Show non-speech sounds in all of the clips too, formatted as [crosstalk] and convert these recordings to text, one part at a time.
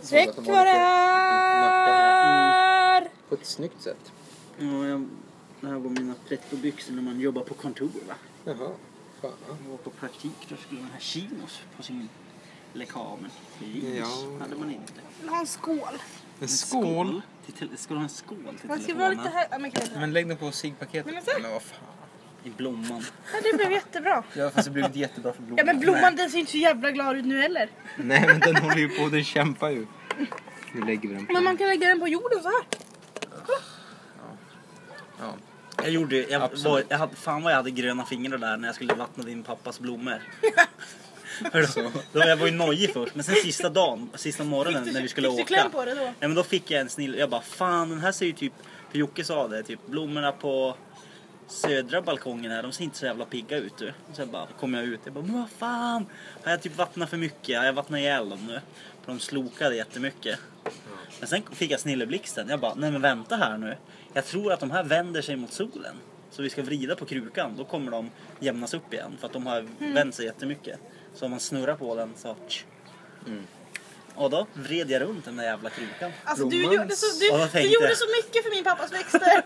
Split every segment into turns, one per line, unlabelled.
Streck
som
vad det
Mm.
är!
På ett snyggt sätt.
Ja, jag, det här var mina prettobyxor när man jobbar på kontor va.
Jaha. Fan.
När jag var på praktik då skulle man ha chinos på sin lekamen. Jeans
Ja.
hade man inte.
Vill ha en skål?
En
Skål! Till, tele- ska du ha en skål till
Man ska vara lite
telefonen?
här... Ja, men kan jag inte.
Men lägg den på ciggpaketet.
Nej, men så.
men vad fan.
I blomman.
Ja, det blev jättebra.
Ja fast det blev inte jättebra för
[laughs]
blomman.
Ja men blomman den ser inte så jävla glad ut nu heller.
Nej men den håller ju på, den kämpar ju. Nu lägger vi den på.
Men man kan lägga den på jorden så här.
Ja.
Jag gjorde jag, var,
Absolut.
jag hade, Fan vad jag hade gröna fingrar där när jag skulle vattna din
[laughs]
pappas blommor. Hör du? då, jag var ju nojig först men sen sista dagen, sista morgonen när vi skulle
fick du
åka.
kläm på det då?
Nej men då fick jag en snille. Jag bara fan den här ser ju typ, för Jocke sa det, typ blommorna på södra balkongen här de ser inte så jävla pigga ut du. Och Sen bara kom jag ut jag bara men vad fan. Har jag typ vattnat för mycket? Har jag vattnat ihjäl dem nu? För de slokade jättemycket. Men sen fick jag snilleblixten. Jag bara, nej men vänta här nu. Jag tror att de här vänder sig mot solen. Så vi ska vrida på krukan, då kommer de jämnas upp igen. För att de har vänt sig jättemycket. Så om man snurrar på den så... Tsch. Och då vred jag runt den där jävla krukan.
Alltså du
Blomman-
gjorde, så, du,
Ja, jag
du
tänkte.
gjorde så mycket för min pappas [laughs] växter.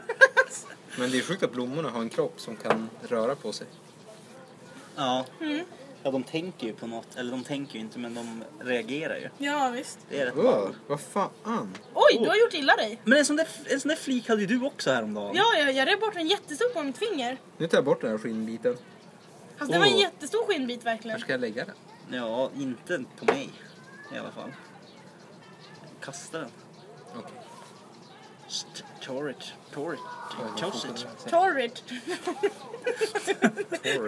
Men det är sjukt att blommorna har en kropp som kan röra på sig.
Ja. Ja, de tänker ju på något. Eller de tänker ju inte, men de reagerar ju.
ja visst.
Det är rätt
Öh,
ball.
vad fan.
Oj, du har gjort illa dig.
Men en sån, där, en sån där flik hade ju du också häromdagen.
Ja, jag, jag rev bort en jättestor på mitt finger.
Nu tar jag bort den här skinnbiten.
Alltså det var en
Åh.
jättestor skinnbit
Var
verkligen.
ska jag lägga den?
Ja, inte på mig. I alla fall. Kasta den.
Okej.
St- Torrit. Torrit. Tossit. [laughs]
Torrid.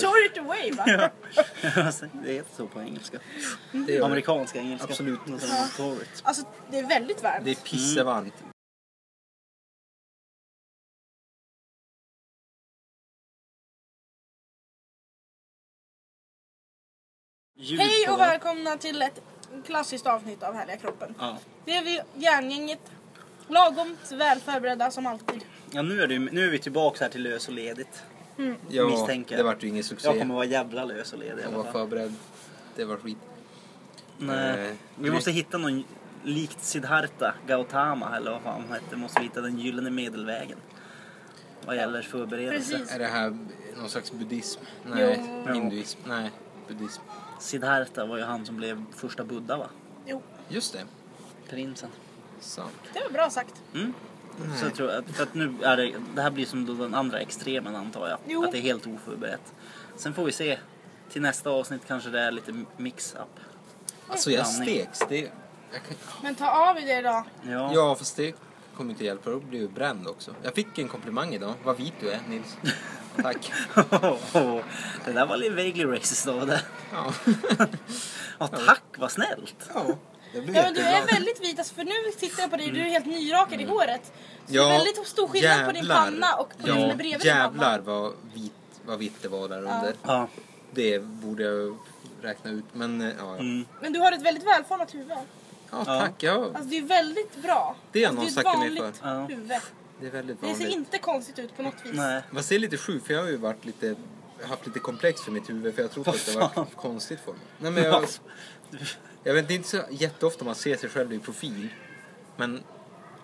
Torrid away va?
Ja. [laughs] Alltså, Det heter så på engelska.
Det, gör det.
Amerikanska engelska.
Absolut.
Något annat. Torrit.
Alltså det är väldigt varmt.
det är pissevarmt.
Ljud
Hej
på
och
det.
välkomna till ett klassiskt avsnitt av Härliga kroppen.
Ja.
Det är vi, järngänget. Lagomt väl förberedda som alltid.
ja, nu är, det, ju- nu är vi tillbaka här till lös och ledigt.
Ja,
Misstänker jag.
det vart ju ingen succé.
Jag kommer vara jävla lös och ledig i
Jag
alla
var
fall.
förberedd. Det var skit.
Nej.
Eh,
Vi måste hitta någon likt Siddhartha Gautama eller vad fan han hette. Måste vi hitta den gyllene medelvägen. Vad gäller förberedelse.
Precis.
Är det här någon slags buddhism? Nej.
Jo.
Hinduism? Nej. Buddhism.
Siddhartha var ju han som blev första Buddha va?
Jo,
Just det.
Prinsen.
Sant.
det var bra sagt.
Mm. Så jag tror att, för att nu är det, det här blir som då den andra extremen antar jag.
Jo.
Att det är helt oförberett. Sen får vi se. Till nästa avsnitt kanske det är lite mix-up.
Alltså jag
Blandning.
steks. Det... Jag kan...
Men ta av er det idag.
Ja.
Ja, fast det kommer inte hjälpa. Då blir du bränd också. Jag fick en komplimang idag. Vad vit du är,
[laughs]
Nils. Tack.
[laughs] det där var lite vaguely racist av det. [laughs]
Ja.
Ja, tack vad snällt.
ja. Jag blev
Ja men du är
jätteglad. Mm.
väldigt vit alltså, för nu tittar jag på dig du är helt nyrakad i håret. Så
Ja,
det är väldigt stor skillnad på din
jävlar.
panna och på
ja,
din bredvid din
Jävlar
panna.
vad, vit, vad vitt det var där under.
Ja.
Det borde jag räkna ut. Men eh, ja, ja.
Mm.
Men du har ett väldigt välformat huvud.
ja
Ja.
tack. Ja,
Alltså det är väldigt bra.
Det har
alltså,
någon sagt
är
till mig
ett vanligt
förr. Ja.
huvud.
det är väldigt
Det ser
vanligt.
inte konstigt ut på något vis.
Nej.
Man ser lite sjuk för jag har ju varit lite, haft lite komplex för mitt huvud för jag trodde
Vad
att det var
fan?
konstigt för mig. Nej, men jag, jag vet det är inte så jätteofta man ser sig själv i profil. Men,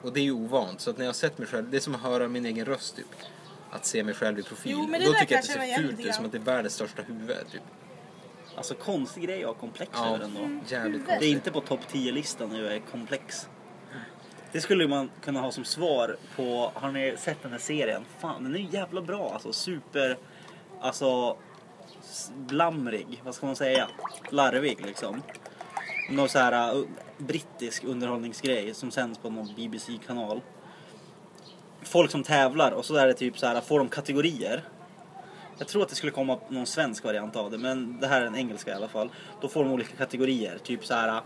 och det är ju ovant. Så att när jag har sett mig själv, det är som att höra min egen röst typ. Att se mig själv i profil.
Jo, men det
Då
där
tycker jag att
kan
det
jag
ser
känna igen
fult
lite
ut, som
grann.
att det är världens största huvud typ.
[laughs] Alltså konstig grej jag har komplex
Ja,
över ändå.
Mm.
jävligt
Huvudet.
konstigt.
Det är inte på topp 10-listan när jag är komplex. Det skulle man kunna ha som svar på, har ni sett den här serien? Fan, den är ju jävla bra alltså. Super, alltså, s- blamrig, vad ska man säga? Larvig liksom. Någon så här uh, brittisk underhållningsgrej som sänds på någon BBC-kanal. Folk som tävlar och så är det typ så här, får de kategorier? Jag tror att det skulle komma någon svensk variant av det, men det här är en engelska i alla fall. Då får de olika kategorier, typ så här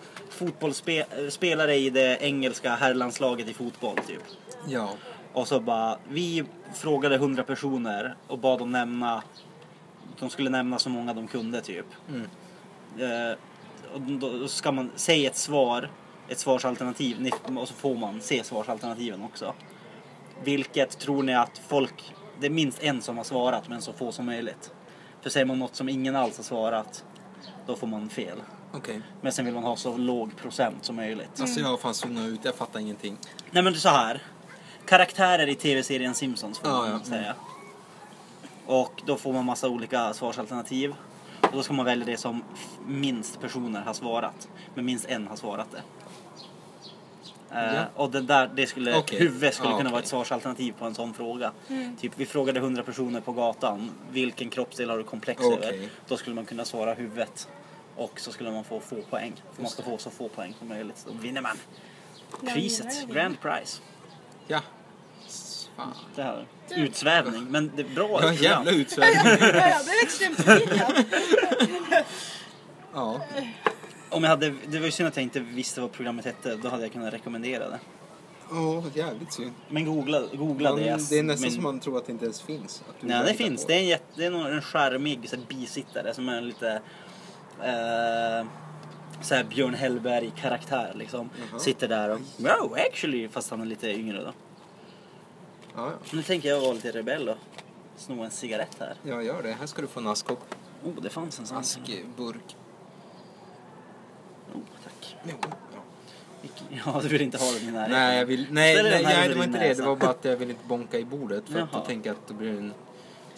fotbollsspelare i det engelska herrlandslaget i fotboll typ.
Ja.
Och så bara, vi frågade 100 personer och bad dem nämna, de skulle nämna så många de kunde typ.
Mm.
Eh, och då då ska man säga ett svar, ett svarsalternativ ni- och så får man se svarsalternativen också. Vilket tror ni att folk, det är minst en som har svarat men så få som möjligt. För säger man något som ingen alls har svarat, då får man fel.
Okej.
Men sen vill man ha så låg procent som möjligt.
Alltså jag har fan zonat ut, jag fattar ingenting.
Nej men så här. Karaktärer i tv-serien Simpsons får
Ja,
man
ja, mm.
säga. Och då får man massa olika svarsalternativ. Och då ska man välja det som f- minst personer har svarat. Men minst en har svarat det. Eh,
Ja.
Och det där, det skulle,
Okej.
huvud skulle
Ja,
kunna vara
okej.
ett svarsalternativ på en sån fråga. Typ vi frågade 100 personer på gatan, vilken kroppsdel har du komplex
Okej.
över? Då skulle man kunna svara huvudet. Och så skulle man få få poäng. För man ska få så få poäng som möjligt. Så vinner man.
Nej,
Priset,
nej.
grand prize.
Ja. S- Fan.
Det här. Utsvävning, men det är bra
Jag har
program.
jävla
[laughs]
utsvävning.
[laughs] Ja, jag blev extremt förvirrad.
Ja.
Om jag hade, det var ju synd att jag inte visste vad programmet hette, då hade jag kunnat rekommendera det.
Åh, jävligt synd.
Men googla, googla
Man,
det.
det är nästan
men,
som man tror att det inte ens finns. Att du bara
Nej, det
hittar
finns.
på
Det är en, jätte, det är nog en charmig så här, bisittare som är en lite... Eh, så här Björn Hellberg-karaktär liksom.
Jaha.
Sitter där och... Wow, actually! Fast han är lite yngre då.
Ja,
Nu tänker jag vara lite rebell och sno en cigarett här.
ja. jag gör det. Här ska du få en askkopp.
Oh, det fanns en sån. Mm.
Askburk.
Oh, tack.
Jo, ja.
Vilken- Ja, du vill inte ha den i närheten.
Nej, jag vill, nej,
Ställ den
nej,
här
nej
över
det var
din
inte det. Det
näsa.
var bara att jag vill inte bonka i bordet för att
Jaha.
då tänker jag att det blir en
det,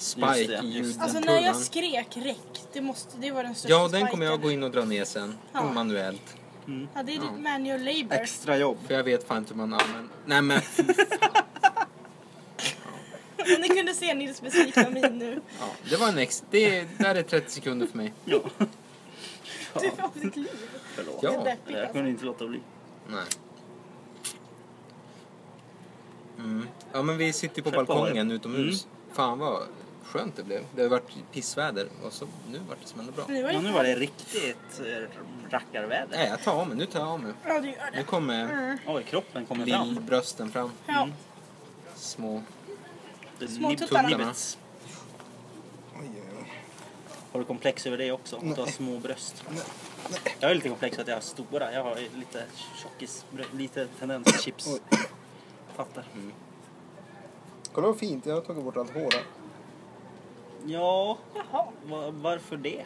spike i
just
ljudkurvan.
det.
Alltså när jag skrek räck, det, måste, det var den största
Ja, den kommer jag
spiken.
gå in och dra ner sen.
Ja.
Manuellt.
Ja, det är
Ja.
ditt manual labor.
Extra jobb.
För jag vet fan inte hur man använder... Nej men [laughs] fy fan.
[laughs] Om ni kunde se Nils besvikna min nu.
ja, Det var en ex... Det där är 30 sekunder för mig.
Ja.
Du har ditt liv.
Förlåt.
Det är
Ja.
deppigt
Jag
alltså.
kunde inte låta bli.
Nej. Mm. Ja men vi sitter på
Släpp av Mm.
balkongen utomhus. Fan vad skönt det blev. Det har varit pissväder och så nu vart det som ändå bra.
Men nu var
Ja,
det
nu var det riktigt eh, rackarväder.
Nej jag tar av mig, nu tar jag av mig.
Ja, du gör
Nu
det.
kommer
Mm.
Oj, kroppen kommer fram.
lillbrösten fram.
Ja.
Mm.
Små.
Det är
Små
nib-
tuttarna.
nibbets. Har du komplex över det också? Att du har små bröst? Jag är lite komplex att jag har stora. Jag har lite tjockis, lite tendens till chips. Fattar.
Kolla vad fint, jag har tagit bort allt hår
Ja,
Jaha.
va- varför det?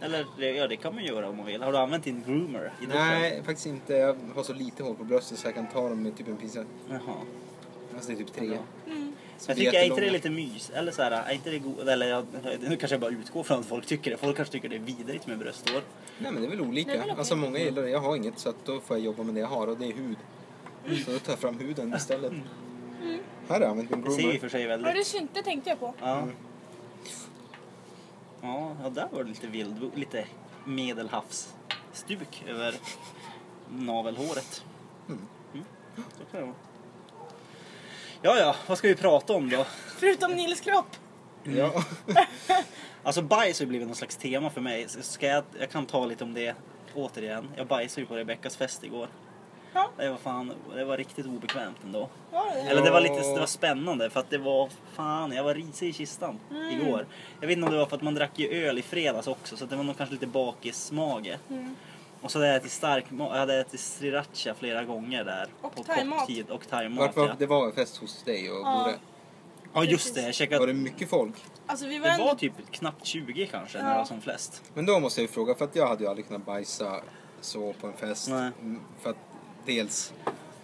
Eller det- ja, det kan man göra om man vill. Har du använt din groomer? i
Nej faktiskt inte, jag har så lite hår på bröstet så jag kan ta dem med typ en pincett.
duschen? Jaha.
Alltså det är typ tre.
Mm.
Så
Jag
blir
tycker är inte det är
jättelånga.
lite mys? Eller så här, är inte det go- eller jag, nu kanske jag bara utgår från att folk tycker det. Folk kanske tycker det är vidrigt med brösthår.
Nej men det är väl
Det är
olika.
väl okej.
Alltså många gillar det. Jag har inget så att då får jag jobba med det jag har och det är hud. Så då tar jag fram huden istället. Här har jag använt min
Mm. Det ser ju i och
groomer.
för sig
Ja, det
väldigt...
synte tänkte jag på.
Ja. Ja, ja, där var det lite vild, lite medelhavsstuk över navelhåret.
Mm.
Mm. Så kan det vara. Ja, ja, vad ska vi prata om då?
Förutom Nils kropp.
Mm. Ja.
[laughs] Alltså bajs har ju blivit någon slags tema för mig. Så Ska jag, jag kan ta lite om det återigen. Jag bajsade ju på Rebeckas fest igår.
Ja.
Det var fan, det var riktigt obekvämt ändå.
Var det?
Eller det var lite det var spännande för att det var fan, jag var risig i kistan
Mm.
igår. Jag vet inte om det var för att man drack ju öl i fredags också så att det var nog kanske lite bakismage.
Mm.
Och så hade jag ätit stark, ma- jag hade ätit sriracha flera gånger där.
Och
på
thaimat.
kort tid och thaimat.
Vart var,
Ja.
det var en fest hos dig och
Ja.
Bore.
ja just det, jag
Var
käkade,
det mycket folk?
Alltså vi var
det var
ändå...
typ knappt 20 kanske när
Ja.
det var som flest.
Men då måste jag ju fråga, för att jag hade ju aldrig kunnat bajsa så på en fest.
Nej.
Mm, För att dels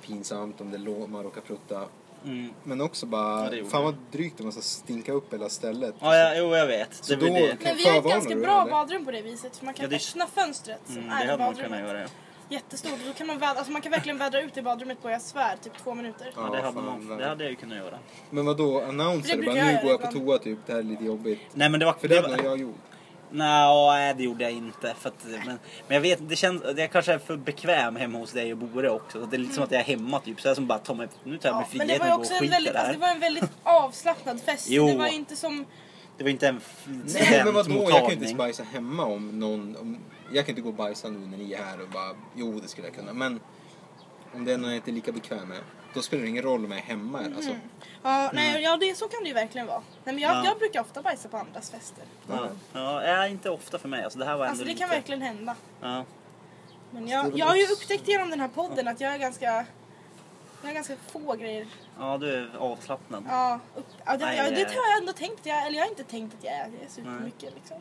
pinsamt om det lå, man råkar prutta.
Mm.
Men också
Ja,
bara,
det gjorde
fan
jag.
vad drygt om man ska stinka upp hela stället.
Ja, ja, jo jag vet.
Så
det var
då-
det.
Men vi har ett
Förvarnar
ganska
du,
bra
eller?
badrum på det viset. För man kan
Ja, det-
öppna fönstret som
Mm,
är
det
i
hade man
badrummet.
kunnat göra ja.
Jättestort. Och Då kan man, väd... alltså, man kan verkligen vädra ut i badrummet på, jag svär, typ två minuter.
Ja.
ja det, hade
fan,
man,
vad-
det hade jag ju kunnat göra.
Men vad då annonser
Det
du
brukar
bara,
jag
nu
göra
går jag på
ibland.
toa typ, det här är lite jobbigt.
Nej men det var...
För det
var-
hade jag gjort.
Nej, det gjorde jag inte. För att, men, men jag vet, det känns, jag kanske är för bekväm hemma hos dig och Bore också. Så Det är lite som att jag är hemma typ. Så jag som bara tar mig, nu tar jag mig
Mm. Ja, men det
friheten
var ju
och går
också
och
en
skiter
väldigt,
där.
alltså, det var en väldigt avslappnad fest.
Jo.
Det var ju inte som...
det var inte en
Nej men vadå, jag kan ju inte ens
mottagning.
bajsa hemma om någon... Om, jag kan inte gå och bajsa nu när ni är här och bara, jo det skulle jag kunna. Men om det är någon jag inte är lika bekväm med, då spelar det ingen roll om jag är hemma. Alltså.
Ja, nej, ja det, så kan det ju verkligen vara. Nej, men jag,
Mm. Ja.
jag brukar ofta bajsa på andras fester.
Ja, ja, nej, inte ofta för mig. Alltså, det här var ändå
Alltså det
lite,
kan verkligen hända.
Ja.
Men
det är
jag,
väl
jag har ju
också-
upptäckt genom den här podden att jag är ganska... Jag har ganska få grejer.
ja, du är avslappnad.
Ja, upp, ja, det,
Nej,
ja,
det
det
är-
har jag ändå tänkt. Jag, eller jag har inte tänkt att jag är det supermycket liksom.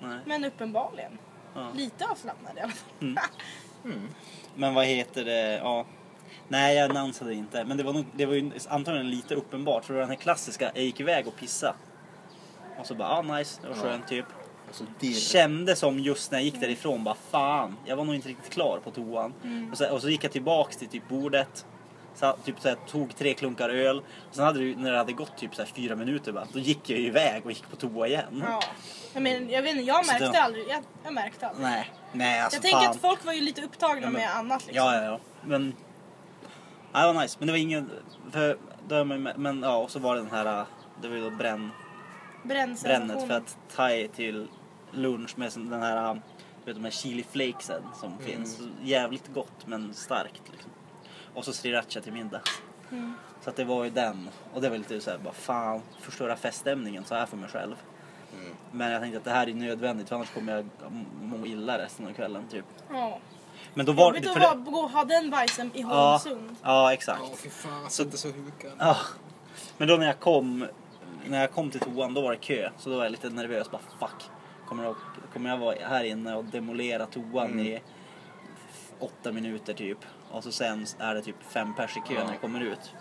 Nej.
Men uppenbarligen.
Ja.
Lite avslappnad i alla fall.
Men vad heter det, ja. Nej, jag dansade inte. Men det var, nog, det var ju antagligen lite uppenbart. För det var den här klassiska, jag gick iväg och pissade. Och så bara, ah nice, det var
Ja.
skönt typ.
Och så dirr.
Kände som just när jag gick därifrån, bara fan, jag var nog inte riktigt klar på toan.
Mm.
Och, så, och så gick jag tillbaks till typ bordet. Så, typ så här, tog tre klunkar öl. Och sen hade det, ju- när det hade gått typ så här, fyra minuter bara, då gick jag ju iväg och gick på toa igen.
Ja. Jag, men, jag vet inte, jag
Så
märkte
Mm. Alltså, det-
aldrig. Jag, jag märkte aldrig.
Nej, nej alltså
jag tänker
fan.
att folk var ju lite upptagna
Ja, men-
med annat liksom.
Ja, ja, ja. Men... Ja, det var nice. Men det var ingen... För, då är man, ju med- men ja, och så var det den här... äh, Det var ju då bränn,
Brännsensationen.
brännet för att thai till lunch med sån- den här... äh, Du vet de här chili flakesen som finns. Jävligt gott men starkt liksom. Och så sriracha till middag.
Mm.
Så att det var ju den. Och det var lite såhär bara fan, förstöra feststämningen så här för mig själv.
Mm.
Men jag tänkte att det här är nödvändigt för annars kommer jag må illa resten av kvällen typ.
Ja.
Men då var
Jobbigt
för
att
det-
vara- gå och ha den bajsen i
Ja,
Holmsund.
ja exakt.
Ja, fy fan. Så inte så hukad.
Ja. Men då när jag kom när jag kom till toan då var det kö. Så då var jag lite nervös. Bara fuck. Kommer jag, kommer jag vara här inne och demolera toan
Mm.
i åtta minuter typ. Och så sen är det typ fem pers i kö
Ja.
när jag kommer ut.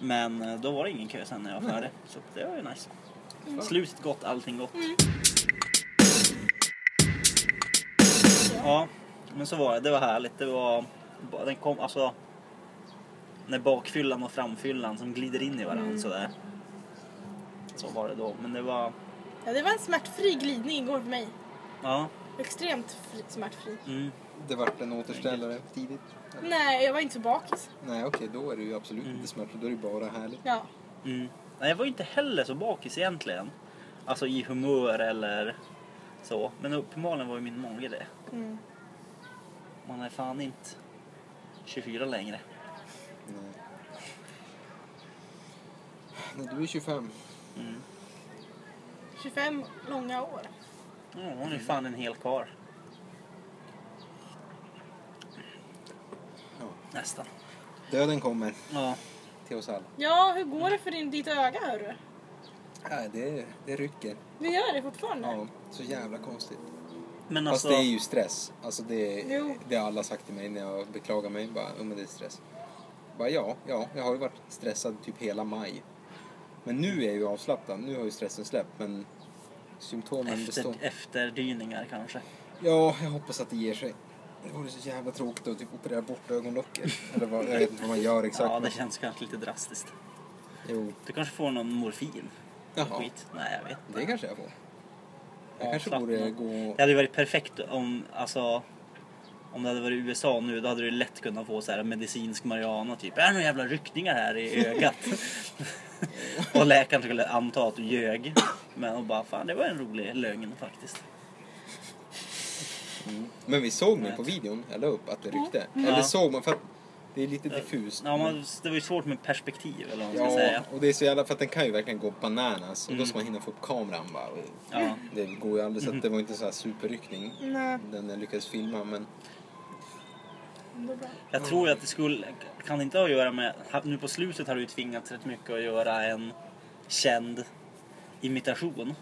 Men eh, då var det ingen kö sen när jag var färdig. Så det var ju nice. Slutet gott, allting gott. Ja, men så var det. Det var härligt. Det var... Den kom, alltså... När bakfyllan och framfyllan som glider in i varandra sådär. Så var det då. Men det var...
Ja, det var en smärtfri glidning igår för mig.
Ja.
Extremt fri, smärtfri.
Mm.
Det vart en återställare tidigt.
Nej, jag var inte så bakis.
Nej, okej, då är det ju absolut inte smärtsamt. Då är det bara härligt.
Ja.
Mm. Nej, jag var ju inte heller så bakis egentligen. Alltså i humör eller så. Men uppenbarligen var ju min mage det.
Mm.
Man är fan inte 24 längre.
Nej. När du är 25.
Mm.
25 långa år.
Ja, hon är
Mm.
fan en hel karl.
Ja.
Nästan.
Döden kommer
Ja.
till oss alla.
Ja, hur går det för din, ditt öga hörru?
Nej, det, det rycker.
Det gör det fortfarande?
Ja, så jävla konstigt.
Men
Fast
alltså...
det är ju stress. Alltså det,
Jo.
det har alla sagt till mig när jag beklagar mig. Bara, oh, men det är stress. Bara, ja, ja, jag har ju varit stressad typ hela maj. Men nu är jag ju avslappnad. Nu har ju stressen släppt. Men symptomen består.
Efter, efterdyningar kanske.
Ja, jag hoppas att det ger sig. Det vore så jävla tråkigt att typ operera bort ögonlocket. Eller vad, jag vet inte vad man gör exakt.
Ja, det
men-
känns kanske lite drastiskt.
Jo,
Du kanske får någon morfin?
Jaha.
Skit. Nej, jag vet
det kanske jag får. Jag
Ja,
kanske borde
slappna.
gå...
Det hade ju varit perfekt om, alltså, om det hade varit USA nu. Då hade du lätt kunnat få så här medicinsk marijuana typ. Är det några jävla ryckningar här
[laughs]
i ögat? och läkaren skulle anta att du ljög. Men och bara, fan det var en rolig lögn faktiskt.
Men vi såg nu på videon, jag la upp, att det ryckte. Eller
Ja.
såg man, för att det är lite diffust.
Ja, man, det var ju svårt med perspektiv eller vad man ska
Mm. Ja,
säga. Mm.
och det är så jävla, för att den kan ju verkligen gå bananas och då ska man hinna få upp kameran bara.
Ja.
Det går ju aldrig, så
Mm.
att det var inte så här superryckning.
Nej,
Den jag lyckades filma, men
det är bra.
Jag tror ju att det skulle, kan det inte ha att göra med, nu på slutet har du ju tvingats rätt mycket att göra en känd imitation.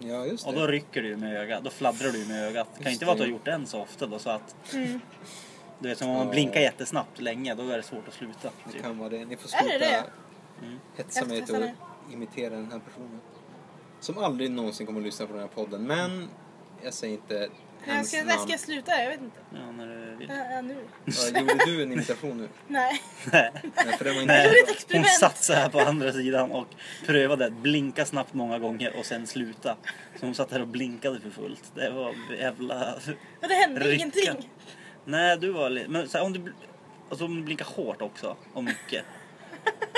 ja just
Och då
det.
rycker du ju med ögat, då fladdrar du ju med ögat. Det kan ju
Just
inte vara att du
det.
har gjort den så ofta då så att
Mm.
Du vet, om man
Ja.
blinkar jättesnabbt länge, då är det svårt att sluta.
Det
Typ.
kan vara det. Ni får
Är det
sluta
det?
Mm.
hetsa mig till
Eftertesta
att imitera den här personen. Som aldrig någonsin kommer att lyssna på den här podden, men jag säger inte
Nej, Jag
hennes
ska, när ska
namn.
jag sluta? Jag vet inte.
Ja, när du vill.
Äh, äh, nu.
Ja, Gjorde du en imitation
[laughs]
nu?
Nej.
Nej, för det var
Nej,
inte
gjorde ett
Hon
experiment.
satt så här på andra sidan och prövade att blinka snabbt många gånger och sen sluta. Så hon satt här och blinkade för fullt. Det var jävla...
Och det hände
Rycka.
ingenting.
Nej, du var lite... Men så här, om, du... bl- alltså, om du blinkar hårt också, och mycket.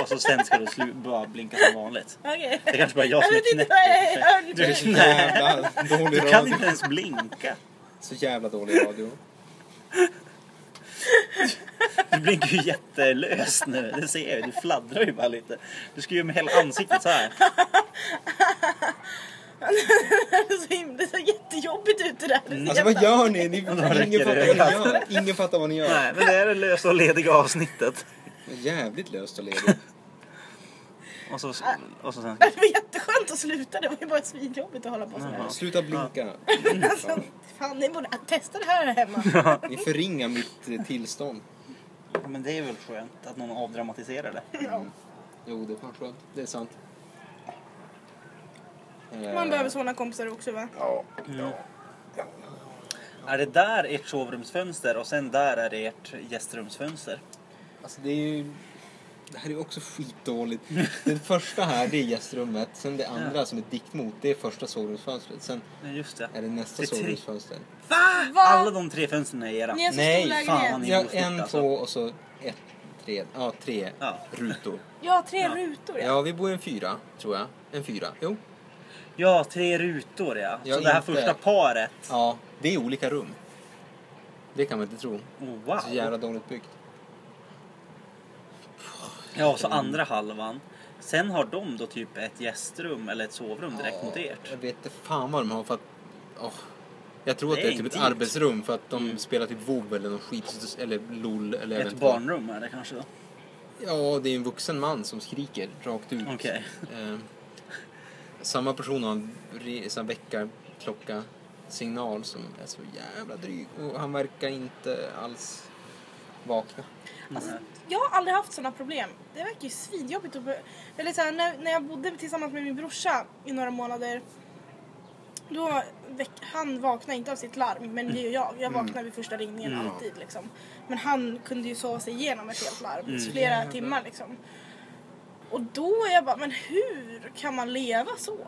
Och så sen ska du slu... bara blinka som vanligt.
Okej.
Det kanske bara är jag
Jag
som är
vet inte vad jag
knäpp.
hörde.
Du-
så jävla dålig
Du kan
radio.
inte ens blinka.
Så jävla dålig radio.
Du blinkar ju jättelöst nu, det ser jag ju. Du fladdrar ju bara lite. Du ska ju med hela ansiktet så här.
[laughs] Det så himla- Det såg jättejobbigt ut det där. Det är så
Alltså vad
jävla-
gör ni? ni
då räcker
ingen,
det.
fattar vad ni gör. ingen fattar vad ni gör.
Nej, men det är det lösa och lediga avsnittet.
Jävligt löst och ledigt.
Och så, och så sen...
[laughs] Det var jätteskönt att sluta, det var ju bara svinjobbigt att hålla på sådär.
Jaha.
Sluta blinka.
Alltså, fan ni borde testa det här hemma.
[laughs] Ni förringar mitt eh, tillstånd.
Ja, Men det är väl skönt att någon avdramatiserar det.
Ja.
Jo, det är fan skönt. Det är sant.
Man behöver såna kompisar också va?
Ja.
Är det där ert sovrumsfönster och sen där är det ert gästrumsfönster?
Alltså det är ju... Det här är ju också skitdåligt. Det första här, det är gästrummet. Sen det andra som är diktmot, det är första sovrumsfönstret. Sen
Nej, just det.
är det nästa
Det är tre.
sovrumsfönster.
Va?
Alla de tre fönstren är era.
Ni har så
Nej,
stor
fan,
lägenhet.
vad ni-
Ja,
stort,
en,
alltså.
två och så ett, tre. Ja, tre
Ja.
rutor.
Ja, tre rutor ja.
Ja, vi bor i en fyra, tror jag. En fyra. Jo.
Ja, tre rutor ja.
Ja,
så det här
inte-
första paret.
Ja, det är olika rum. Det kan man inte tro.
Oh, wow.
Så jävla dåligt byggt.
Ja, och så andra halvan. Sen har de då typ ett gästrum eller ett sovrum direkt mot
Ja,
ert.
Jag vet inte fan vad de har för att... åh. Jag tror
Det
att det
är
är typ ett
intimt.
arbetsrum för att de spelar typ WoW eller någon skit. Eller LOL eller jag vet
Mm. Ett
inte vad.
barnrum är det kanske då.
Ja, det är en vuxen man som skriker rakt ut.
Okej.
Eh, samma person har en re- sån här väckarklocka signal som är så jävla dryg och han verkar inte alls vakna.
Alltså, jag har aldrig haft såna problem. Det verkar ju svinjobbigt. Att... be- Eller så här, när, när jag bodde tillsammans med min brorsa i några månader. Då väck, han vaknade inte av sitt larm, men det är ju jag.
Mm.
Jag vaknar vid första ringningen alltid. Liksom. Men han kunde ju sova sig igenom ett helt larm,
Mm.
flera timmar liksom. Och då är jag bara, men hur kan man leva så?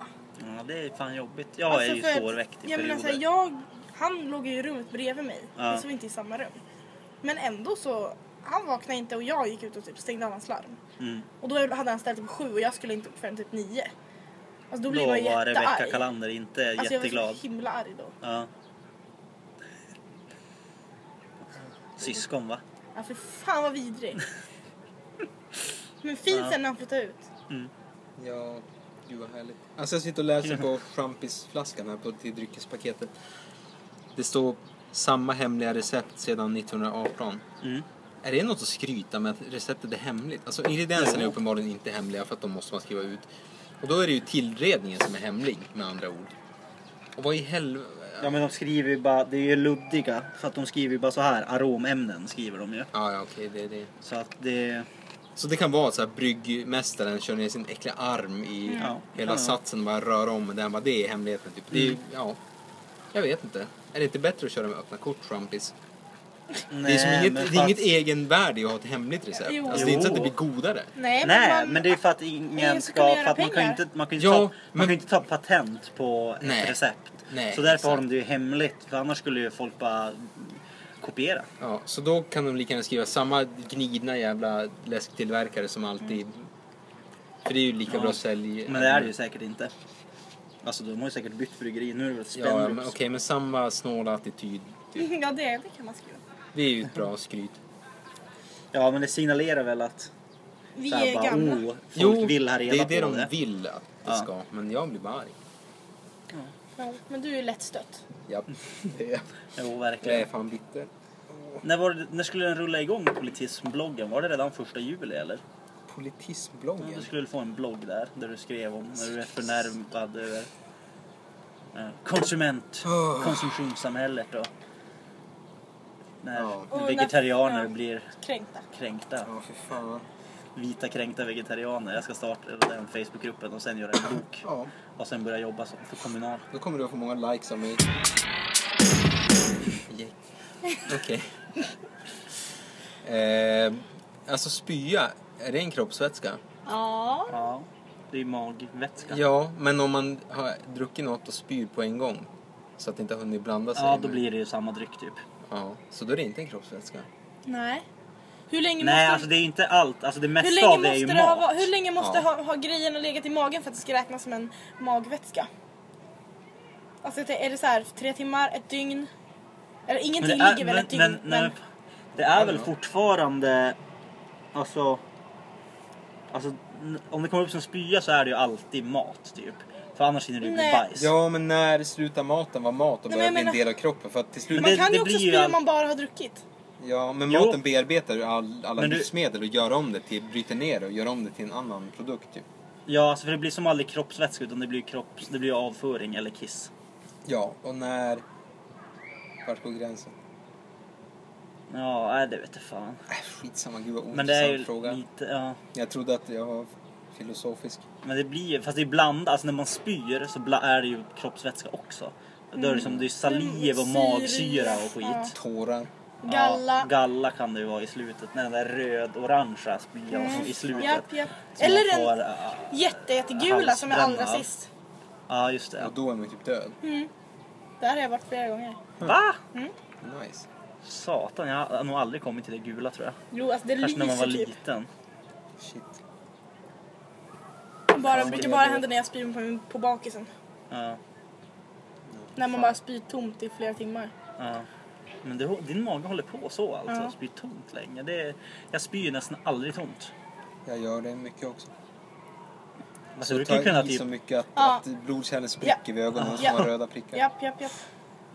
Mm. Ja, det är fan jobbigt. Jag är ju
Alltså, för att- alltså,
svårväckt i
jag menar, så
perioder.
här, jag, Han låg ju i rummet bredvid mig.
Ja.
Vi sov inte i samma rum. Men ändå så, han vaknade inte och jag gick ut och typ stängde av hans larm.
Mm.
Och då hade han ställt upp sju och jag skulle inte upp förrän typ nio. Alltså då blir
Då
man ju
var Rebecka
jättearg.
Kalander inte
Alltså jag var
jätteglad.
så himla arg då.
Ja. Syskon va?
Ja, för Alltså, fan vad
[laughs]
vidrig. Men fin
Ja.
sen när han flyttade ut.
Ja, gud vad härligt. Alltså jag sitter och läser på champisflaskan här på till dryckespaketet. Det står samma hemliga recept sedan 1918.
Mm.
Är det något att skryta med att receptet är hemligt? Alltså ingredienserna är
Ja.
uppenbarligen inte hemliga för att de måste man skriva ut. Och då är det ju tillredningen som är hemlig med andra ord. Och vad i helvete...
Ja men de skriver ju bara, det är ju luddiga för att de skriver ju bara så här, aromämnen skriver de ju.
Ja, ja okej det är det.
Så att det...
Så det kan vara så här bryggmästaren kör ner sin äckliga arm i
Ja.
hela
Ja. Mm.
satsen och bara rör om den. Bara, det är hemligheten typ. Det är, ju- ja, jag vet inte. Är det inte bättre att köra med öppna kort, Trumpis? det är, som inget, det är inget e- egenvärde i att ha ett hemligt recept.
Jo.
Alltså, det är inte så att det
Jo.
blir godare.
Nej,
Nej,
man-
men det är för att
Ingen
ingen
ska
ska...
kunna
För att man
göra
kan ju
pengar.
inte, man kan ju
Ja,
inte, ta, man
men-
kan ju inte ta patent på ett
Nej.
recept.
Nej,
så därför har
exakt.
de det ju hemligt, för annars skulle ju folk bara kopiera.
Ja, så då kan de lika gärna skriva samma gnidna jävla läsktillverkare som alltid. För det är ju lika
Ja.
bra sälj.
Men det är det ju säkert inte. Alltså de har ju säkert bytt bryggeri, nu är det väl
Ja, men,
Spendrups.
okej, men samma snåla attityd. Typ.
[laughs] Ja, det, det kan man skriva.
Det är ju ett bra skryt.
ja men det signalerar väl att
Vi
så här,
är
bara,
gamla.
oh, folk vill ha reda
det är det
på
de
det.
vill att det
Ja.
ska. Men jag blir bara arg.
Ja, men du är ju lättstött.
[laughs] Ja, det är
Jo,
jag.
verkligen.
är fan bitter.
När, var det, när skulle den rulla igång, politismbloggen? Var det redan första juli eller?
Politismbloggen.
Du skulle väl få en blogg där, där du skrev om när du är förnärmad över eh, konsument,
Oh.
konsumtionssamhället och när
Ja.
Och när-
vegetarianer
ja.
blir
Kränkta.
kränkta.
Ja, för fan.
Vita kränkta vegetarianer. Jag ska starta den Facebookgruppen och sen göra en bok.
Ja,
Och sen börja jobba som- för kommunal.
då kommer du att få många likes av mig. Yeah. Okej. eh, alltså spya, är det en kroppsvätska?
Ja.
Ja, det är magvätska.
Ja, men om man har druckit något och spyr på en gång så att det inte har hunnit blanda sig.
Ja, då
med-
blir det ju samma dryck typ.
Ja, så då är det inte en kroppsvätska.
Nej. Hur länge
Nej,
måste...
alltså det är ju inte allt. Alltså det
Hur
mesta
länge,
av det är
måste
ju
det
mat.
ha, va- hur länge måste
Ja.
ha, ha grejerna legat i magen för att det ska räknas som en magvätska? Alltså jag tänker, är det så här tre timmar, ett dygn? Eller
Men
ingenting
det är,
ligger väl
men,
ett dygn?
men,
Men,
men, det är väl
Ja.
fortfarande... Alltså... Alltså n- om det kommer upp som spya så är det ju alltid mat typ. För annars hinner det ju bli
Nej.
bajs.
Ja, men när slutar maten vara mat och
Nej,
börjar
men
bli
jag
en del av kroppen? För att till slut...
Men
man
det-
kan
det
ju också
blir ju
spy
all-
om man bara har druckit.
Ja, men
Jo.
maten bearbetar ju all, alla
Men du-
livsmedel och gör om det till, bryter ner det och gör om det till en annan produkt. Typ.
Ja, alltså för det blir som aldrig kroppsvätska utan det blir, kropps, det blir avföring eller kiss.
Ja, och när... Vart går gränsen?
Ja, nej, det vet jag fan.
Äh, skitsamma, gud vad
Men det är
ointressant
ju
fråga.
lite, ja.
Jag trodde att jag var filosofisk.
Men det blir ju, fast det är blandat, alltså när man spyr så bla, är det ju kroppsvätska också. Då är det som det är saliv och
Mm,
magsyra och
syre, ja.
skit.
Tårar.
Ja,
Galla.
galla kan det ju vara i slutet, när den där röd-orangea blir
Mm.
i slutet.
Japp, japp.
Så
Eller
man får,
den
ja,
jätte, jättegula som är allra
halsbränna.
sist.
Ja, just det.
Och då är man ju typ död.
Mm. Där har jag varit flera gånger.
Va?
Nice.
Satan, jag har nog aldrig kommit till det gula tror jag.
Jo, alltså det
Kanske när man var
lyser typ.
liten.
Shit.
Bara,
Fan,
brukar
det
bara
är-
hända när jag spyr på, på bakisen.
Ja,
När man
Fan.
bara spyr tomt i flera timmar.
ja. Men du, din mage håller på så alltså,
Ja.
spyr tomt länge. Det är, jag spyr nästan aldrig tomt.
Jag gör det mycket också.
Alltså,
Så
jag brukar ju
tar
kunna
jag i
typ...
så mycket att,
Ja.
att blodkärlen spricker
Ja.
vid ögonen och så
Ja.
har man röda prickar. Ja,
Japp, japp, japp.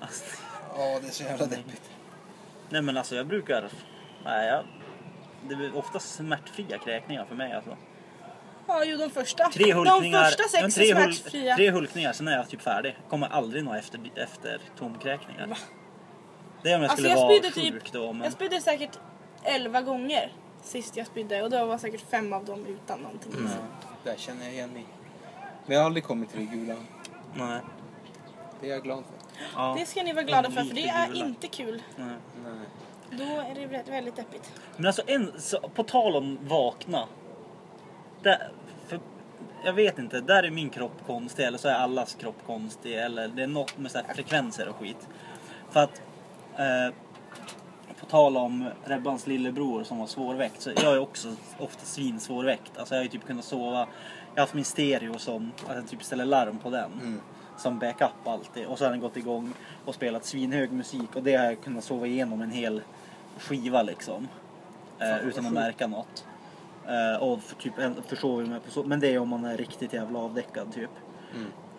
Alltså,
det är så jävla deppigt.
nej men alltså jag brukar... Nej, jag, det är oftast smärtfria kräkningar för mig alltså.
Ja, jo de första.
Tre hulkningar,
de första
men
sex
tre,
är
hul-
smärtfria.
tre hulkningar, sen är jag typ färdig. Kommer aldrig nå efter, efter tomkräkningar.
Va?
Det är om jag
Alltså,
skulle
jag
vara
spydde typ-
sjuk då. Men...
Jag spydde säkert elva gånger sist jag spydde och då var säkert fem av dem utan någonting.
Nej,
Där känner jag igen mig. Men jag har aldrig kommit till det gula.
nej,
Det är jag glad för.
ja,
Det ska ni vara glada för, för det
Lite
är
gula.
inte kul.
nej.
Nej.
Då är det vä- väldigt deppigt.
Men alltså en, så, på tal om vakna. Där, för, jag vet inte, där är min kropp konstig eller så är allas kropp konstig eller det är något med så här frekvenser och skit. För att eh, på tal om Rebbans lillebror som var svårväckt så jag är också ofta svinsvårväckt. Alltså jag har ju typ kunnat sova, jag har haft min stereo som, att jag typ ställer larm på den. Som backup alltid och så har den gått igång och spelat svinhög musik och det har jag kunnat sova igenom en hel skiva liksom. Eh, utan att märka något. Eh, och för, typ en- försover mig på så, men det är om man är riktigt jävla avdäckad typ.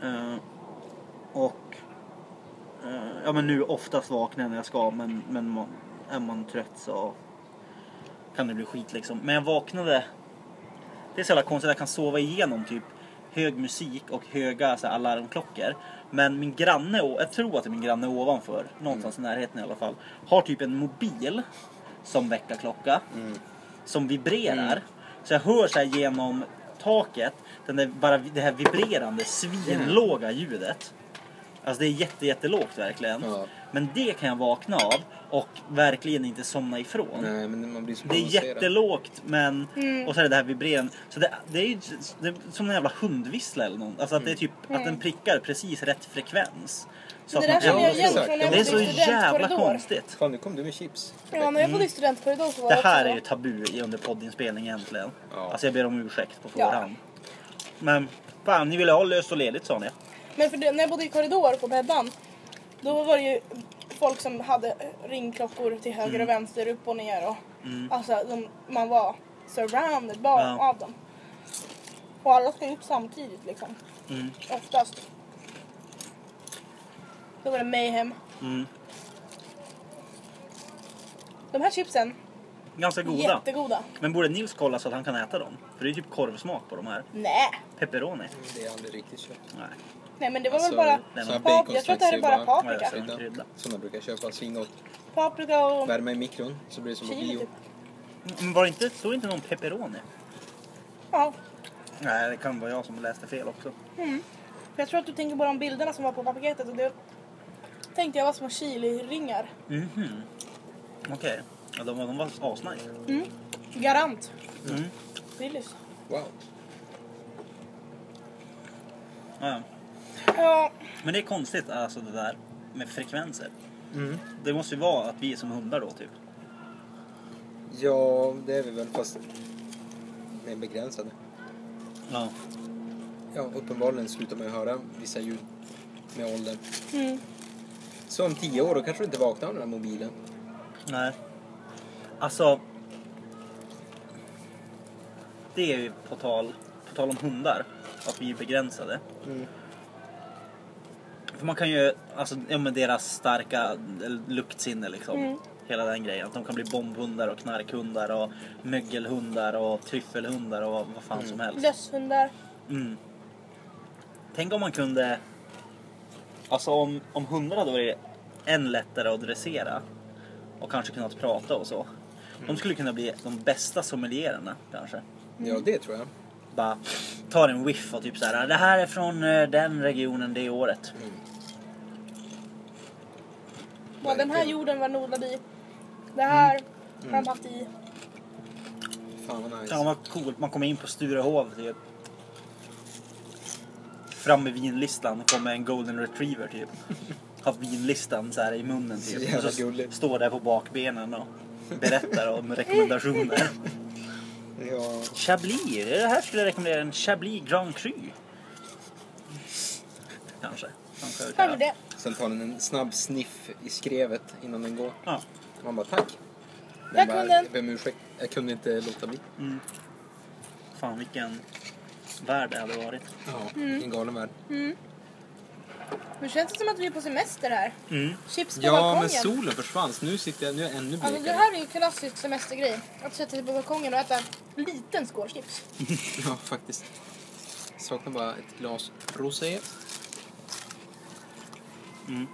Eh, och eh, ja men nu oftast vaknar jag när jag ska men, men man, är man trött så kan det bli skit liksom. Men jag vaknade, det är så jävla konstigt, jag kan sova igenom typ hög musik och höga så här, alarmklockor. Men min granne, å- jag tror att det är min granne ovanför, någonstans i närheten i alla fall, har typ en mobil som väckarklocka som vibrerar. Så jag hör så här genom taket den där, bara det här vibrerande svinlåga ljudet. Alltså det är jätte, jättelågt verkligen.
Ja.
Men det kan jag vakna av och verkligen inte somna ifrån.
Nej, men man blir så
Det är
provocerad.
jättelågt men...
Mm.
Och så är det det här vibrerande. Så det, det är ju det är som en jävla hundvissla eller något. Alltså att
Mm.
det är typ att den prickar precis rätt frekvens.
Mm. Det
att man
där känner
Ja,
jag
kan-
igen
exakt.
från när jag
Det
bodde
är så
i
jävla
studentkorridor.
konstigt.
Fan, nu kom du med chips.
Ja, när jag bodde i studentkorridor så var
Det
också
här
så.
är ju tabu i- under poddinspelning egentligen.
Ja.
Alltså jag ber om ursäkt på
Ja.
förhand. Men fan, ni ville ha löst och ledigt sa ni.
Men för det, när jag bodde i korridor på bäddan då var det ju folk som hade ringklockor till höger och vänster, upp och ner och alltså de, man var surrounded bara
Ja.
av dem. Och alla ska ju upp samtidigt liksom,
Mm.
oftast. Då var det mayhem.
Mm.
De här chipsen,
Ganska goda.
jättegoda.
Men borde Nils kolla så att han kan äta dem? För det är typ korvsmak på de här.
Nej.
Pepperoni.
Det är aldrig riktigt kött.
Nej,
Nej men det var
Alltså,
väl
den
bara
här
paprika. Jag tror att det här är
baconsnacks är
bara
bara-
vad är
paprika.
det för en
Krydda.
krydda?
Som man brukar köpa. Svingott.
Paprika och
Värma i mikron så blir det som på
chili
bio.
typ.
Men var det inte, stod inte någon pepperoni?
Ja.
Nej, det kan vara jag som läste fel också.
För jag tror att du tänker bara om bilderna som var på paketet och det tänkte jag var små chiliringar.
Mhm. Okej. Ja, de, var- de var asnice.
Mm. Garant.
Mm.
Willys.
Wow.
Ja, ja.
Ja,
Men det är konstigt alltså det där med frekvenser.
Mm.
Det måste ju vara att vi är som hundar då typ.
Ja, det är vi väl fast... Vi är begränsade.
Ja.
Ja, uppenbarligen slutar man ju höra vissa ljud med åldern.
mm.
Så om tio år då kanske du inte vaknar av den här mobilen.
Nej. Alltså. Det är ju på tal, på tal om hundar. Att vi är begränsade.
Mm.
För man kan ju, alltså ja, men deras starka eh, luktsinne liksom.
Mm.
Hela den grejen. Att de kan bli bombhundar och knarkhundar och mögelhundar och tryffelhundar och vad fan som helst.
löshundar.
Mm. Tänk om man kunde... Alltså om, om hundar hade varit än lättare att dressera och kanske kunnat prata och så. De skulle kunna bli de bästa sommelierarna kanske.
Ja, det tror jag.
Bara tar en whiff och typ så här. Det här är från eh, den regionen det året.
Mm.
Bara, den
Verkligen.
här
Mm.
jorden var den odlad i. Det här har de haft i.
Fan vad nice.
Ja, vad coolt. Man kommer in på Sturehov. Typ. Fram med vinlistan kommer en golden retriever [laughs] typ. Har vinlistan så här i munnen
Så
typ.
jävla
Och så
gulligt.
står där på bakbenen och berättar om rekommendationer.
Ja.
[laughs] Chablis. Det här skulle jag rekommendera. En Chablis Grand Cru. Kanske. Kanske jag
Hör du
kan.
det?
Sen tar den en snabb sniff i skrevet innan den går.
Ja.
Man bara tack. Den
Jag
bara,
kunde.
Jag ber om ursäkt. Jag kunde inte låta bli.
Mm. Fan vilken värld det hade varit.
Ja. En galen värld.
Mm. Nu känns det som att vi är på semester här.
Mm.
Chips på
Ja, men
balkongen.
solen försvann så nu sitter jag, nu är jag ännu blekare.
Alltså det här är ju klassisk semestergrej. Att sätta sig på balkongen och äta en liten skål chips.
Ja, faktiskt. Saknar bara ett glas rosé.
Mm.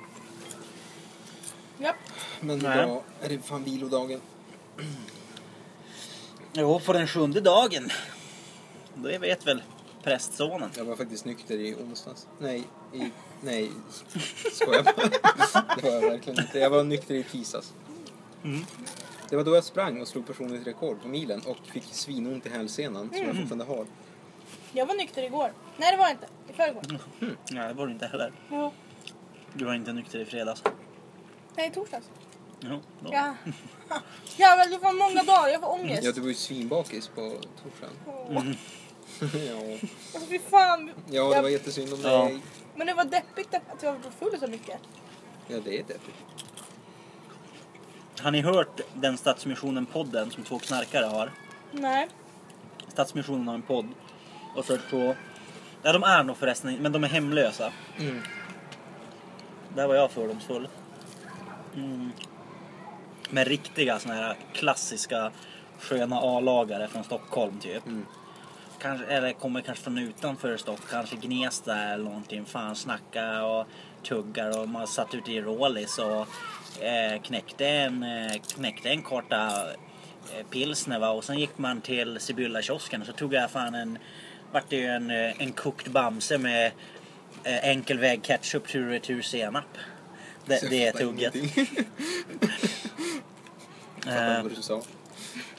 Japp.
Men
Nej.
idag är det fan vilodagen.
Jo, på den sjunde dagen. Det vet väl prästsonen.
Jag var faktiskt nykter i onsdags. Nej, i... Nej, skojar bara. Det var jag verkligen inte. Jag var nykter i tisdags.
Mm.
Det var då jag sprang och slog personligt rekord på milen och fick svinont i hälsenan som
Mm.
jag fortfarande har.
Jag var nykter igår. Nej det var jag inte. I förrgår.
Nej, det var du inte heller.
Ja.
Du var inte nykter i fredags.
Nej i torsdags.
Jo, då.
Ja. Jävlar du får många dagar. Jag får
Ja,
ångest.
du var ju svinbakis på torsdagen. [laughs]
Åh.
Mm.
ja.
Alltså fy fan.
ja, det var jättesynd om
Ja.
dig.
Men det var deppigt att jag var full så mycket.
Ja, det är det.
Har ni hört den Stadsmissionen-podden som två knarkare har?
Nej.
Stadsmissionen har en podd. Och så på... Ja, de är nog förresten men de är hemlösa.
Mm.
Där var jag fördomsfull. Mm. Med riktiga såna här klassiska sköna A-lagare från Stockholm typ.
Mm.
Kanske, eller kommer kanske från utanför Stockholm, kanske Gnesta eller någonting. Fan snackar och tuggar och man satt ute i Rålis och eh, knäckte, en, eh, knäckte en korta eh, pilsner va? och sen gick man till Sibylla-kiosken och så tog jag fan en, vart det ju en, eh, en kokt bamse med eh, enkel väg ketchup tur och retur senap. Det,
Så jag
det är
fattar
tugget.
ingenting. Fattar
Eh,
inte vad du sa.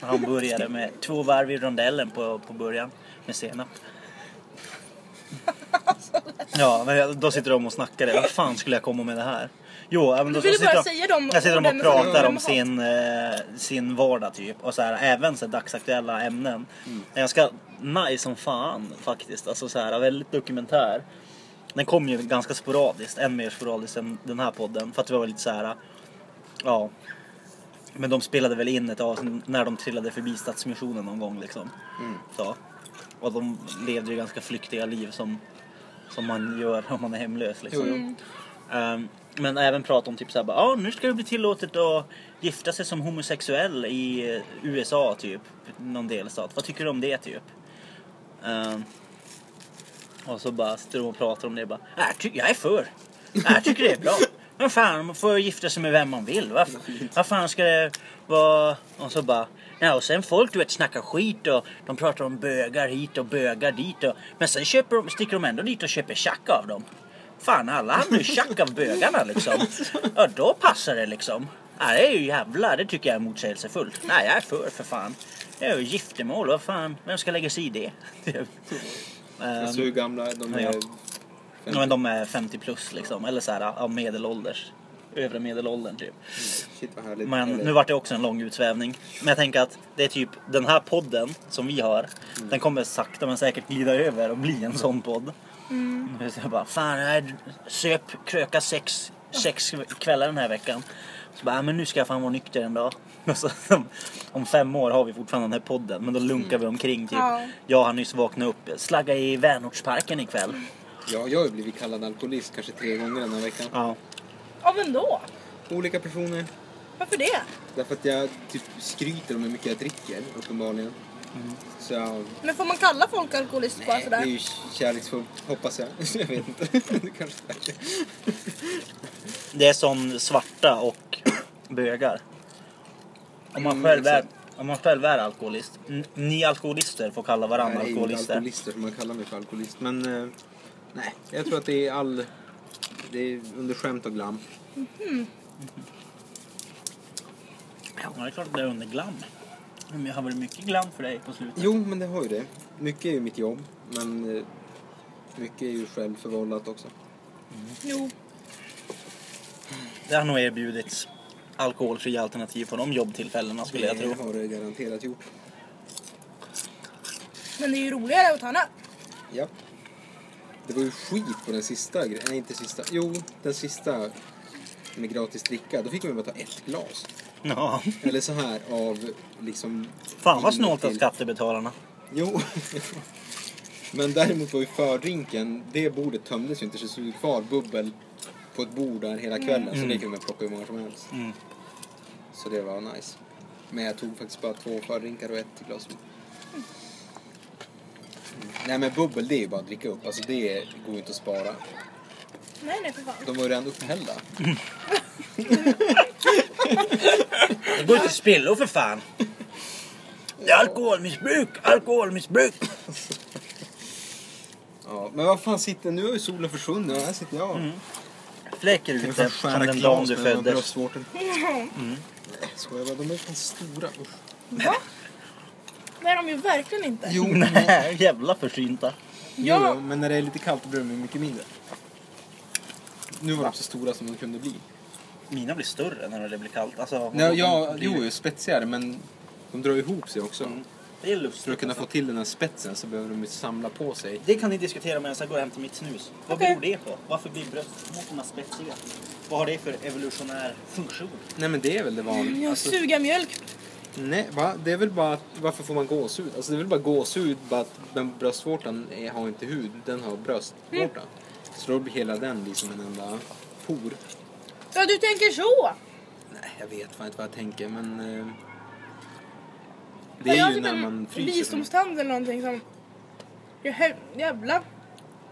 hamburgare med två varv i rondellen på, på början
[laughs]
med senap. Ja, men jag- då sitter de och snackar. Vad fan skulle jag komma med det här? Jo, ja, men
Du
då,
ville
sitter
bara
de,
säga de
jag sitter de
orden
och
som du
pratar om
glömmer
sin, eh, sin vardag typ. Och så här, även så här, dagsaktuella ämnen. Ganska nice som fan faktiskt. Alltså så här, väldigt dokumentär. Den kom ju ganska sporadiskt, än mer sporadiskt än den här podden. För att det var lite så här, ja. Men de spelade väl in ett avsnitt när de trillade förbi Stadsmissionen någon gång liksom. Så. Och de levde ju ganska flyktiga liv som, som man gör om man är hemlös liksom.
Jo, jo.
Ehm, men även prata om typ såhär, ja ah, nu ska det bli tillåtet att gifta sig som homosexuell i eh, USA typ. Någon delstat. Vad tycker du om det typ? Ehm, och så bara sitter de och pratar om det bara, "Nej, jag ty- jag är för. Nej, Jag tycker det är bra. Men fan, man får gifta sig med vem man vill. Vad vad fan ska det vara... Och så bara... Ja, och sen folk du vet snackar skit och de pratar om bögar hit och bögar dit. Och, men sen köper de, sticker de ändå dit och köper tjack av dem. Fan, alla hamnar ju tjack av bögarna liksom. Ja, då passar det liksom. Ja, det är ju jävla, det tycker jag är motsägelsefullt. Nej, jag är för, för fan. Det är ju giftermål, vad fan, vem ska lägga sig i det? [laughs] Ehm,
Alltså hur gamla de
ja.
är?
Ja, men de är 50 plus liksom, eller så här, ja, medelålders. Övre medelåldern typ.
Shit vad härligt.
Men
Eller-
nu vart det också en lång utsvävning. Men jag tänker att det är typ den här podden som vi har, den kommer sakta men säkert glida över och bli en sån podd. Mm. Så jag bara, fan jag söp, kröka sex, sex kvällar den här veckan. Så bara, "Ja, men nu ska jag fan vara nykter en dag. [laughs] Och så, om fem år har vi fortfarande den här podden, men då lunkar vi omkring typ.
Ja.
Jag har nyss vaknat upp, slagga i vänortsparken ikväll.
Ja, jag har ju blivit kallad alkoholist kanske tre gånger den här veckan.
Ja.
Ja men då?
Olika personer.
Varför det?
Därför att jag typ skryter om hur mycket jag dricker, uppenbarligen.
Mm.
Så
Men får man kalla folk alkoholist bara
det är
sådär?
ju kärleksfullt, hoppas jag. [laughs] Jag vet inte. Det kanske är
Det är som svarta och bögar. Om man
Mm,
själv är,
exakt.
om man själv är alkoholist. n- Ni alkoholister får kalla varandra
Nej, det är inte
alkoholister.
alkoholister som man kallar mig för alkoholist. Men eh, nej, jag tror att det är all... Det är under skämt och glam.
Ja, det är klart att det är under glam. Men det har varit mycket glam för dig på slutet.
Jo, men det har ju det. Mycket är ju mitt jobb, men eh, mycket är ju självförvållat också.
Jo.
Det har nog erbjudits alkoholfria alternativ på de jobbtillfällena skulle jag
Det
tro.
har det garanterat gjort.
Men det är ju roligare att ta en öl.
Ja. Det var ju skit på den sista grejen. Nej, inte sista. Jo, den sista med gratis dricka. Då fick man ju bara ta ett glas.
Ja.
Eller så här av liksom...
Fan vad
vin
snålt av
till-
skattebetalarna.
Jo. [laughs] Men däremot var ju fördrinken, det bordet tömdes ju inte så det stod ju kvar bubbel på ett bord där hela kvällen. Så det kunde man plocka hur många som helst.
Mm.
Så det var nice. Men jag tog faktiskt bara två fördrinkar och ett glas vin. Mm. Nej men bubbel det är ju bara att dricka upp. Alltså det går ju inte att spara.
Nej, nej för fan.
De var ju redan upphällda.
Det går inte spillo för fan. Det är alkoholmissbruk, alkoholmissbruk.
Ja, men vad fan sitter... Nu har ju solen försvunnit och här sitter jag.
Mm. Fläker
Jag
ut
får
det
skära
som den
glas med
dagen du
de här
föddes. Mm.
bröstvårtorna. Nej, skojar bara. De är fan stora. Usch.
Va? Det är de ju verkligen inte.
Jo, men-
[laughs] [laughs] Nej, jävla försynta.
Ja.
jo, men när det är lite kallt då blir de ju mycket mindre. Nu var de så stora som de kunde bli.
Mina blir större när det blir kallt. Alltså,
Nej, ja,
de blir-
jo, ju spetsigare men de drar ihop sig också.
Mm. Det är
För att
lustigt.
kunna
alltså.
få till den här spetsen så behöver de ju samla på sig.
Det kan ni diskutera medan jag går och hämtar mitt snus. Vad
Okej.
beror det på? Varför blir bröstmusklerna spetsiga? Vad har det för evolutionär funktion?
Nej men det är väl det vanliga.
Jag
Alltså,
suger mjölk.
nej, va? Det är väl bara att, varför får man gåshud? Alltså det är väl bara gåshud, bara att den bröstvårtan är, har inte hud, den har bröstvårta.
Mm.
Så då blir hela den liksom en enda por.
Ja, du tänker så!
Nej, jag vet fan inte vad jag tänker men... Eh, det
Ja, jag
är
har
ju
typ
när
en
man fryser.
Visdomstand eller någonting som... Jag hö- Jävla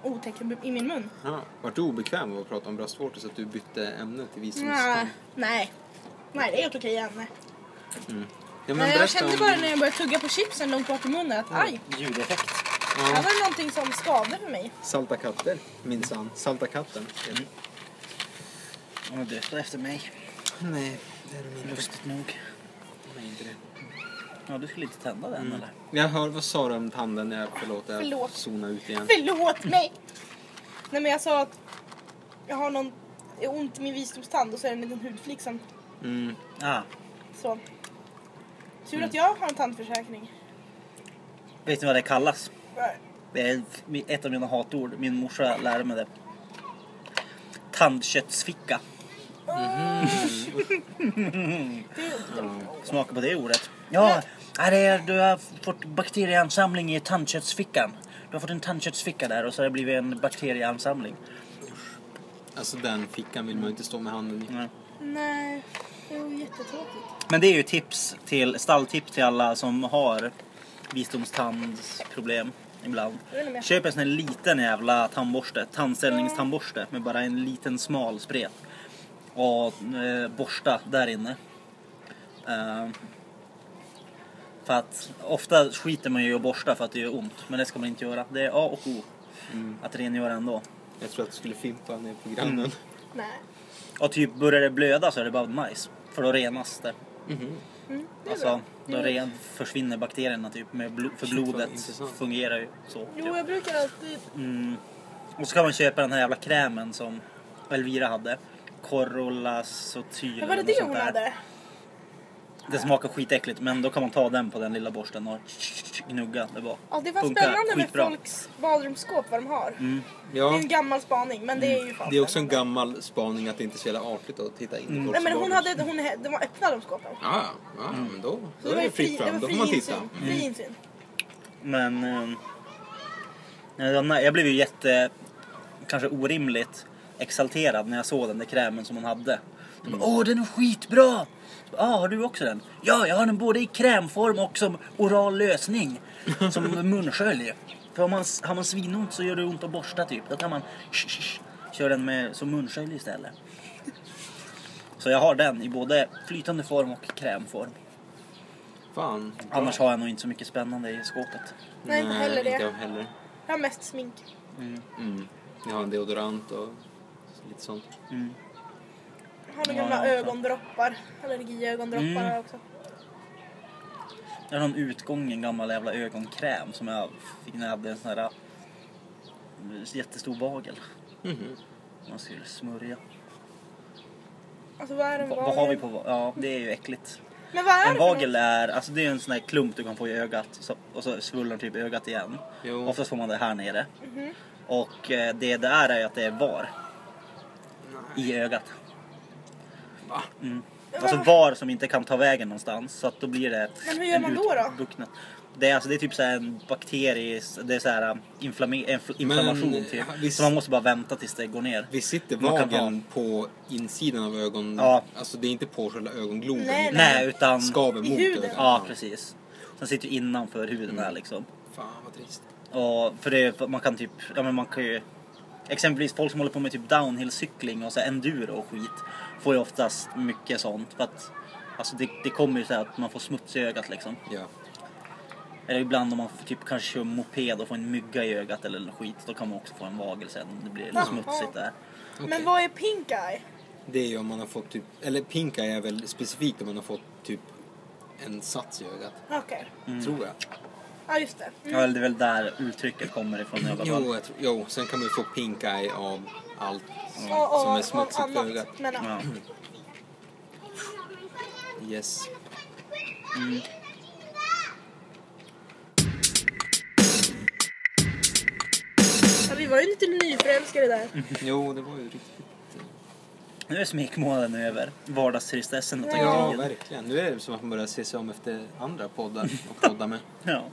otäck i min mun.
Ja, vart du obekväm av att prata om bröstvårtor så att du bytte ämne till
Nej,
visdomstand?
nej. Nej, det är helt okej Anne.
Ja,
Nej, jag
berätta
kände
om-
bara när jag började tugga på chipsen långt bak i munnen att aj,
Ljudeffekt.
här
Ja,
var det någonting som skavde för mig.
salta katter, minsann. Salta katten.
Hon har dött efter mig.
Nej, det är de inte.
Lustigt nog.
De är inte det.
Ja, du skulle inte tända den
Mm.
eller?
Jag hör, vad sa du om tanden? Jag, förlåt, jag
Förlåt.
zonar ut igen.
Förlåt mig! Nej men jag sa att jag har någon, det är ont i min visdomstand och så är det en liten hudflik som
Mm.
Ah,
så. Tur att jag har en tandförsäkring.
vet ni vad det kallas? Det är ett av mina hatord. Min morsa lärde mig det. Tandköttsficka. [laughs] Smaka på det ordet. Ja, ja, det är, du har fått bakterieansamling i tandköttsfickan. Du har fått en tandköttsficka där och så har det blivit en bakterieansamling.
Alltså den fickan vill man ju inte stå med handen i.
Mm.
Nej, det var jättetråkigt.
Men det är ju tips till, stalltips till alla som har visdomstandsproblem ibland.
Jag håller med.
Köp en sån här liten jävla tandborste, tandställningstandborste med bara en liten smal spret. Och eh, borsta där inne. Eh, för att ofta skiter man ju i att borsta för att det gör ont. Men det ska man inte göra. Det är A och O. Att rengöra ändå.
Jag tror att du skulle fimpa ner på grannen.
Nej,
Och typ börjar det blöda så är det bara nice. För då renas det.
Mhm.
Mm, det är bra.
Alltså, då ren, försvinner bakterierna typ. Med blo- för
Shit, vad
blodet
intressant.
fungerar ju så.
Jo,
typ.
jag brukar alltid...
Mm. Och så kan man köpa den här jävla krämen som Elvira hade. Corolasotyl.
Vad var det
eller något
det
sånt
hon
där.
hade?
Det smakar skitäckligt men då kan man ta den på den lilla borsten och gnugga där bak.
Ja, det var
Funkar
spännande med
skitbra.
folks badrumsskåp, vad de har. Det är
Ja,
en gammal spaning, men det är ju fan
Mm. det är också en
spännande.
gammal spaning att det inte är så jävla artigt att titta in i folks
Nej men hon
badrum.
hade, hon, he- de var öppna de skåpen.
Ja, ja, ja, men då,
Så
då är
ju
det fritt
det var
fram. Då
fri
får man titta. Mm.
insyn. Fri insyn.
Men... ehm, nej, det var nej, jag blev ju jätte... Kanske orimligt exalterad när jag såg den där krämen som hon hade. Så bara, Åh den är skitbra! Ja, ah, har du också den? Ja, jag har den både i krämform och som oral lösning. Som munskölj. För om man, s- har man svinont så gör det ont att borsta typ. Då kan man sh, sh, sh, köra den med, som munskölj istället. Så jag har den i både flytande form och krämform.
Fan.
Annars har jag nog inte så mycket spännande i skåpet.
Nej, inte heller det.
Inte jag heller.
Jag har mest smink.
Mm. Jag har en deodorant och lite sånt.
Jag har några
Ja,
gamla
jag också.
ögondroppar. Allergiögondroppar
Mm.
har jag också.
Jag har någon utgång, en gammal jävla ögonkräm som jag fick när jag hade en sån här eh, jättestor bagel.
Mhm.
Man skulle smörja.
Alltså vad är en
Va,
vagel?
vad har vi på va- Ja, det är ju äckligt.
Men vad är
En
det för
vagel
något?
är, alltså det är en sån här klump du kan få i ögat så, och så svullnar typ ögat igen.
Jo.
Oftast får man det här nere.
Mhm.
Och eh, det där är ju att det är var i ögat.
Va?
Mm. Alltså var som inte kan ta vägen någonstans. Så att då blir det
Men hur gör
en
man då då?
utbuktnad- Det är, alltså, det är typ så här en bakterie, det är så här um, inflamme- infl- inflammation typ.
visst-
Så man måste bara vänta tills det går ner.
Vi sitter
Man kan
vageln på insidan av ögonen.
Ja.
Alltså det är inte på själva ögongloben.
Nej,
utan
Nej, utan...
Skaver
I
mot
huden.
ögat.
Ja, precis. Sen sitter ju innanför huden där liksom.
Fan vad trist.
Och för det, man kan typ, ja men man kan ju Exempelvis folk som håller på med typ downhillcykling och så här enduro och skit får ju oftast mycket sånt för att alltså det, det kommer ju så här att man får smuts i ögat liksom.
Ja.
Eller ibland om man får typ kanske kör moped och får en mygga i ögat eller skit då kan man också få en vagel sen om det blir lite
Jaha.
smutsigt där.
Okej.
Men vad är pink eye?
Det är ju om man har fått typ, eller pink eye är väl specifikt om man har fått typ en sats i ögat.
Okej.
Mm.
Tror jag.
Ja just det. Mm.
Ja, eller det är väl där uttrycket kommer ifrån i alla fall.
Jo, jag tror, jo, sen kan man ju få pink eye av allt
Mm.
Och, och,
som är
och
smutsigt i
annat,
ögat.
Men, ja.
Ja.
Yes.
Mm.
Ja, vi var ju lite nyförälskade där.
Mm.
Jo, det var ju riktigt.
Nu är smekmånaden över. Vardagstristessen och
Ja,
tragedin.
verkligen. Nu är det som att man börjar se sig om efter andra poddar
[laughs]
och podda med.
Ja.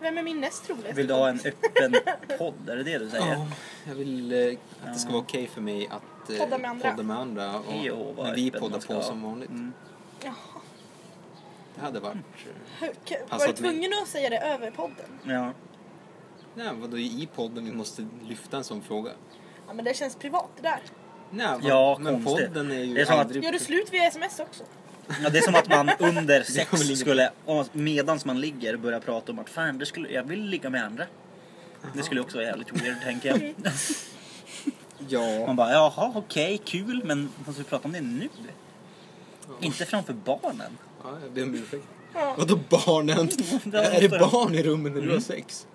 Vem är min näst troligaste?
Vill du ha en öppen podd? Är det det du säger?
Ja, jag vill eh, att det ska vara okej för mig att eh,
Podda med andra.
podda med andra och
Jo, vad
när vi
öppen
poddar
man
på
ska vara.
som vanligt.
Mm.
Jaha.
Det hade varit... eh,
K- Var du
Passat mig.
tvungen att säga det över podden?
Ja.
Nej, vadå i podden? Vi måste lyfta en sån fråga.
Ja men det känns privat det där.
Nej, vad-
Ja,
men
konstigt.
podden är ju
Det är som att-
aldrig...
Gör du slut via sms också?
ja, det är som
[laughs]
att man under
Det kommer
sex
ligga-
skulle, medans man ligger, börja prata om att fan, det skulle, jag vill ligga med andra. Det skulle också vara jävligt weird, tänker jag.
Ja.
Man bara, jaha, okej, kul, men måste vi prata om det nu? Inte framför barnen.
ja, jag ber om ursäkt.
Ja.
Vadå barnen?
[laughs] det
är det
måste jag.
barn i rummen när du har sex?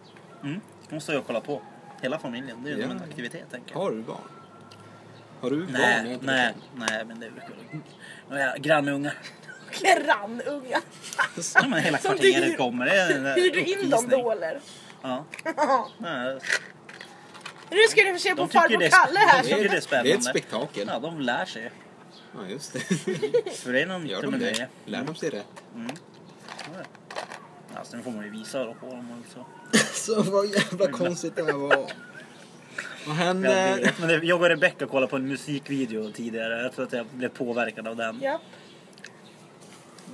Mm. Det måste jag kolla på. Hela familjen, det är ju
Ja.
en aktivitet, tänker jag.
Har du barn? Har du barn? Jag har
Nej,
inte [laughs]
nej, nej, men det är väl kul. Några Grannungar.
Grannunga.
Ja, men hela
Som du
kvarteret
hyr-
kommer. Det är en
Hyr du in dem
uppvisning.
då eller?
Ja. Nej,
[laughs] nu ska du få se på
De tycker det
farbror
är-
Kalle här.
de tycker
Som...
det är
Det är ett
spännande.
spektakel.
Ja, de lär sig.
Ja, just det. [laughs]
För det är någon
Gör
som
de
är
det?
nöje.
Lär de sig rätt?
Alltså, nu får man ju visa då på dem och så.
Så vad jävla konstigt det här var. Vad händer?
Men det- jag och Rebecca kollade på en musikvideo tidigare. Jag tror att jag blev påverkad av den.
Ja.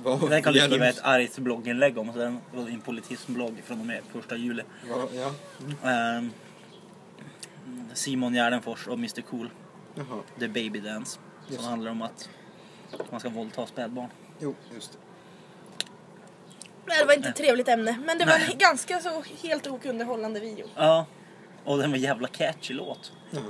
Vad
Den kan du
gäller-
skriva ett argt blogginlägg om. Så den var din politismblogg från och med första juli.
Vad- Ja.
Ehm, Simon Gärdenfors och Mr Cool,
Jaha.
The Baby Dance. Som
Just.
handlar om att man ska våldta spädbarn.
Jo, just det.
Nej, det var inte ett trevligt ämne. Men det var
Nej.
en ganska så helt okunderhållande video.
Ja, och den var jävla catchy låt.
Jaha.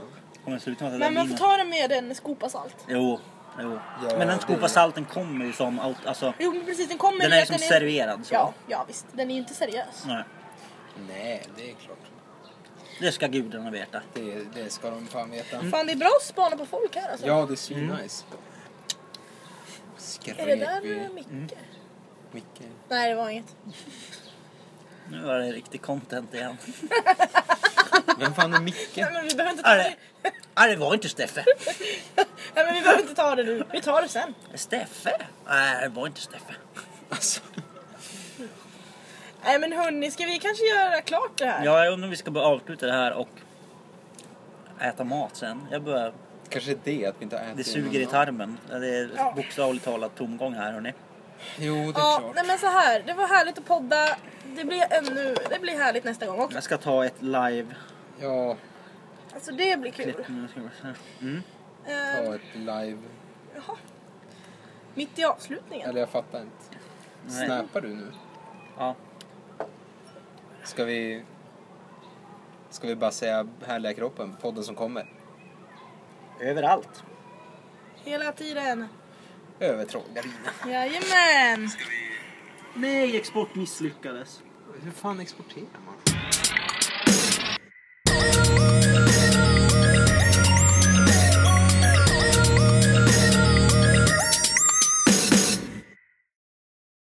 Kommer sluta med att
Men
den
man får
vinner.
ta det med en skopa salt.
Jo, jo.
Ja,
men den
det-
skopa salten kommer ju som... aut- Alltså,
Jo men precis, den kommer
den
i
är
att
som serverad. Så. Mm.
Ja, ja visst. Den är ju inte seriös.
Nej,
Nej, det är klart.
det ska gudarna veta.
Det, det ska de fan veta.
Mm.
Fan det är bra att spana på folk här alltså.
Ja, det är svinnice.
Är det
Skrek
där
vi
eh, Micke?
Mm.
Micke.
Nej det var inget.
Nu var det riktig content igen.
[laughs] Vem fan är Micke?
Nej men vi behöver inte ta
Nej,
det.
det- Nej, det var inte Steffe.
Nej men vi behöver inte ta det nu. Vi tar det sen.
Steffe? Nej, det var inte Steffe.
Alltså.
Nej men hörni, ska vi kanske göra klart det här?
Ja, jag undrar om vi ska bara avsluta det här och äta mat sen. Jag börjar
Kanske är det att vi inte har ätit
Det suger
innan.
i tarmen. Det är
Ja.
bokstavligt talat tomgång här hörni.
Jo, det är
Ja,
klart.
nej men så här. Det var härligt att podda. Det blir ännu, det blir härligt nästa gång också.
Jag ska ta ett live
Ja,
Alltså det blir kul.
klipp nu. ska vi se. Mm.
Ehm,
ta ett live.
jaha. Mitt i avslutningen.
Eller jag fattar inte.
Nej.
Snappar du nu?
Ja.
Ska vi... Ska vi bara säga härliga kroppen, podden som kommer.
Överallt.
Hela tiden.
Över Trollgarinen.
Jajamän.
Nej, export misslyckades.
Hur fan exporterar man?